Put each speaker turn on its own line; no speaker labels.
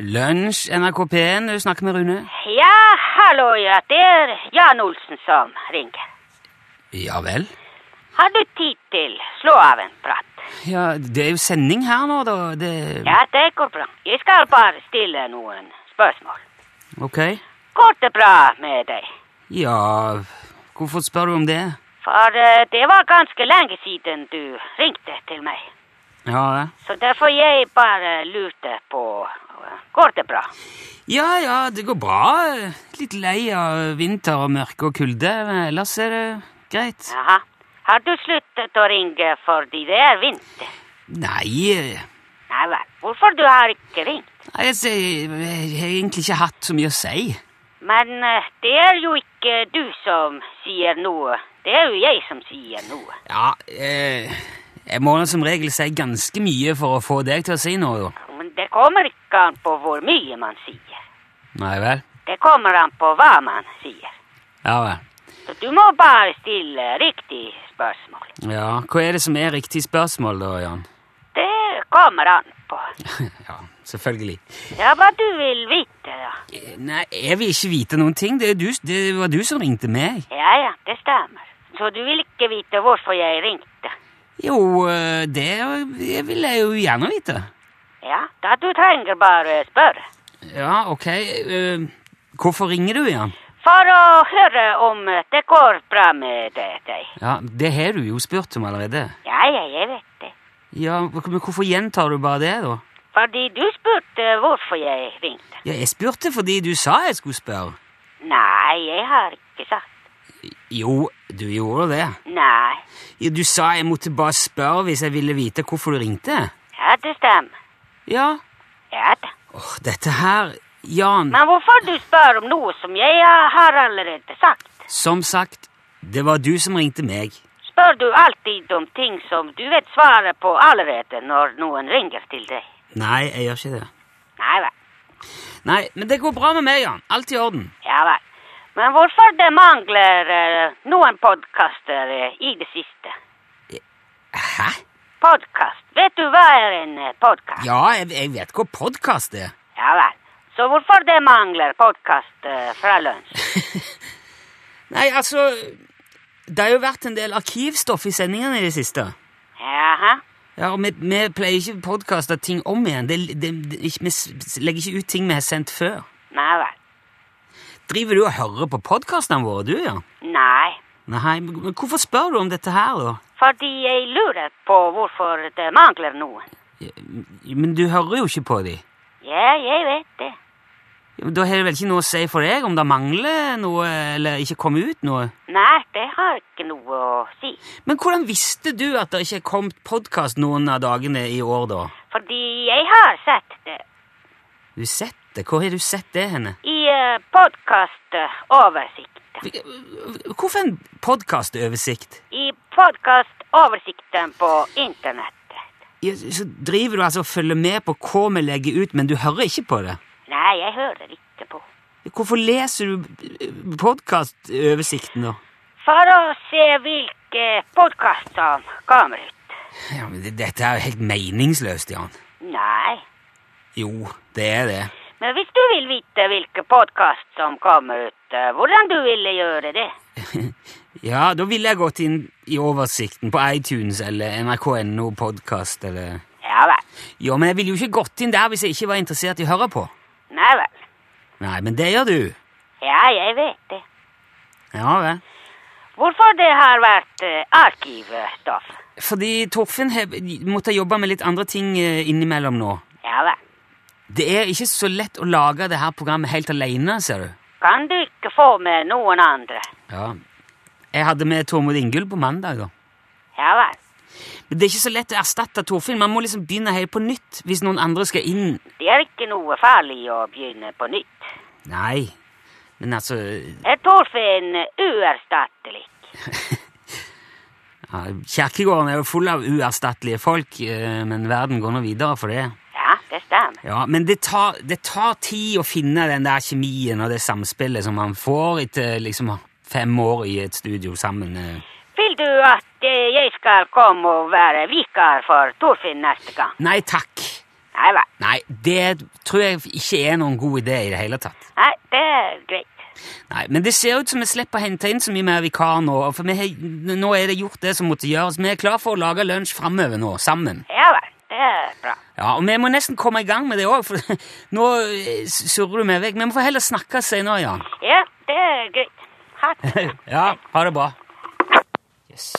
Lunsj, NRK P1, du snakker med Rune.
Ja, hallo, ja. Det er Jan Olsen som ringer.
Ja vel?
Har du tid til slå av en prat?
Ja, det er jo sending her nå, da. Det
Ja, det går bra. Jeg skal bare stille noen spørsmål.
Ok.
Går det bra med deg?
Ja Hvorfor spør du om det?
For eh, det var ganske lenge siden du ringte til meg.
Ja, ja.
Så derfor jeg bare lurte på eh, Går det bra?
Ja, ja, det går bra. Litt lei av vinter og mørke og kulde, men ellers er det greit.
Jaha. Har du sluttet å ringe fordi det er vinter?
Nei eh,
Nei vel. Hvorfor du har ikke ringt?
nei, altså, jeg jeg har egentlig ikke hatt så mye å si.
Men eh, det er jo ikke du som sier noe. Det er jo jeg som sier noe.
Ja, eh, jeg må nå som regel si ganske mye for å få deg til å si noe, jo.
Men det kommer ikke an på hvor mye man sier.
Nei vel?
Det kommer an på hva man sier.
Ja vel.
Så du må bare stille riktig spørsmål.
Ja, Hva er det som er riktig spørsmål, da, Jan?
Det kommer an på.
ja, selvfølgelig.
Ja, hva du vil vite, da.
Eh, Nei, jeg vil ikke vite noen ting. Det, er du, det var du som ringte meg.
Ja, ja, det stemmer. Så du vil ikke vite hvorfor jeg ringte?
Jo, eh, det jeg vil jeg jo gjerne vite.
Ja, da du trenger bare spørre.
Ja, ok. eh, Hvorfor ringer du, Jan?
For å høre om det går bra med deg.
Ja, Det har du jo spurt om allerede.
Ja, ja, jeg vet det.
Ja, Men hvorfor gjentar du bare det, da?
Fordi du spurte hvorfor jeg ringte.
Ja, Jeg spurte fordi du sa jeg skulle spørre.
Nei, jeg har ikke sagt.
Jo, du gjorde det.
Nei.
Ja, Du sa jeg måtte bare spørre hvis jeg ville vite hvorfor du ringte.
Ja, det stemmer.
Ja.
Ja da.
Åh, dette her Jan,
Men hvorfor du spør om noe som jeg eh, har allerede sagt?
som sagt, det var du som ringte meg.
Spør du alltid om ting som du vet svaret på allerede når noen ringer til deg?
Nei, jeg gjør ikke det.
Nei vel.
Nei, men det går bra med meg, Jan. Alt i orden.
Ja vel. Men hvorfor det mangler eh, noen podkaster eh, i det siste?
Hæ?
Podkast. Vet du hva er en eh, podkast?
Ja, jeg, jeg vet hva podkast er.
Ja vel. Så hvorfor det mangler podkast eh, fra lunsj?
Nei, altså Det har jo vært en del arkivstoff i sendingene i det siste.
Jaha.
Ja, og Vi, vi pleier ikke å podkaste ting om igjen. Det, det, det, ikke- vi s- legger ikke ut ting vi har sendt før.
Nei vel.
Driver du og hører på podkastene våre, du, Jan?
Nei.
Nei, men men hvorfor spør du om dette her, da?
Fordi jeg lurer på hvorfor det mangler noen.
Men du hører jo ikke på de.
Ja, jeg vet det.
Da har det vel ikke noe å si for deg om det mangler noe, eller ikke kom ut noe?
Nei, det har ikke noe å si.
Men hvordan visste du at det ikke er kommet podkast noen av dagene i år, da?
Fordi jeg har sett det
Du sett det? Hvor har du sett det henne?
i uh, podkastoversikten.
Hvorfor en podkastoversikt?
I podkastoversikten på internettet.
Ja, Så driver du altså og følger med på hva vi legger ut, men du hører ikke på det?
Nei, jeg hører ikke på.
Hvorfor leser du podkastoversikten, da?
For å se hvilke podkast som kommer ut.
Ja, men det- Dette er jo helt meningsløst, Jan.
Nei.
Jo, det er det.
Men hvis du vil vite hvilke podkast som kommer ut, eh, hvordan du ville gjøre det?
Ja, da ville jeg gått inn i oversikten på iTunes eller nrk.no podkast eller
Ja vel.
Ja, men jeg ville jo ikke gått inn der hvis jeg ikke var interessert i å høre på.
Nei vel.
Nei, men det gjør du.
Ja, jeg vet det.
Ja vel.
Hvorfor det har vært eh, arkivstoff?
Fordi Torfinn har måttet jobbe med litt andre ting eh, innimellom nå.
Ja vel.
Det er ikke så lett å lage det her programmet helt alene, ser du.
Kan du ikke få med noen andre?
Ja. Jeg hadde med Tormod Ingull på mandag, da.
Ja vel.
Men det er ikke så lett å erstatte Torfinn. Man må liksom begynne helt på nytt hvis noen andre skal inn.
Det er ikke noe farlig å begynne på nytt.
Nei, men altså
Er Torfinn eh, uerstattelig?
ja, Kirkegården er jo full av uerstattelige folk, eh, men verden går nå videre for det.
Ja, det stemmer.
Ja, men det tar, det tar tid å finne den der kjemien og det samspillet som man får etter liksom fem år i et studio sammen. eh.
Vil du at eh, jeg skal komme og være vikar for Torfinn neste gang?
Nei takk!
Nei vel.
Nei, det tror jeg ikke er noen god idé i det hele tatt.
Nei, det er greit.
Nei, Men det ser ut som vi slipper å hente inn så mye mer vikar nå. For vi har, nå er det gjort det som måtte gjøres. Vi er klar for å lage lunsj framover nå, sammen.
Ja vel. Det er bra.
Ja, Og vi må nesten komme i gang med det òg, for nå eh, surrer du meg vekk. Vi må få heller snakkes senere, Jan.
Ja, det er greit. Ha det.
Ja, ha det bra. Yes.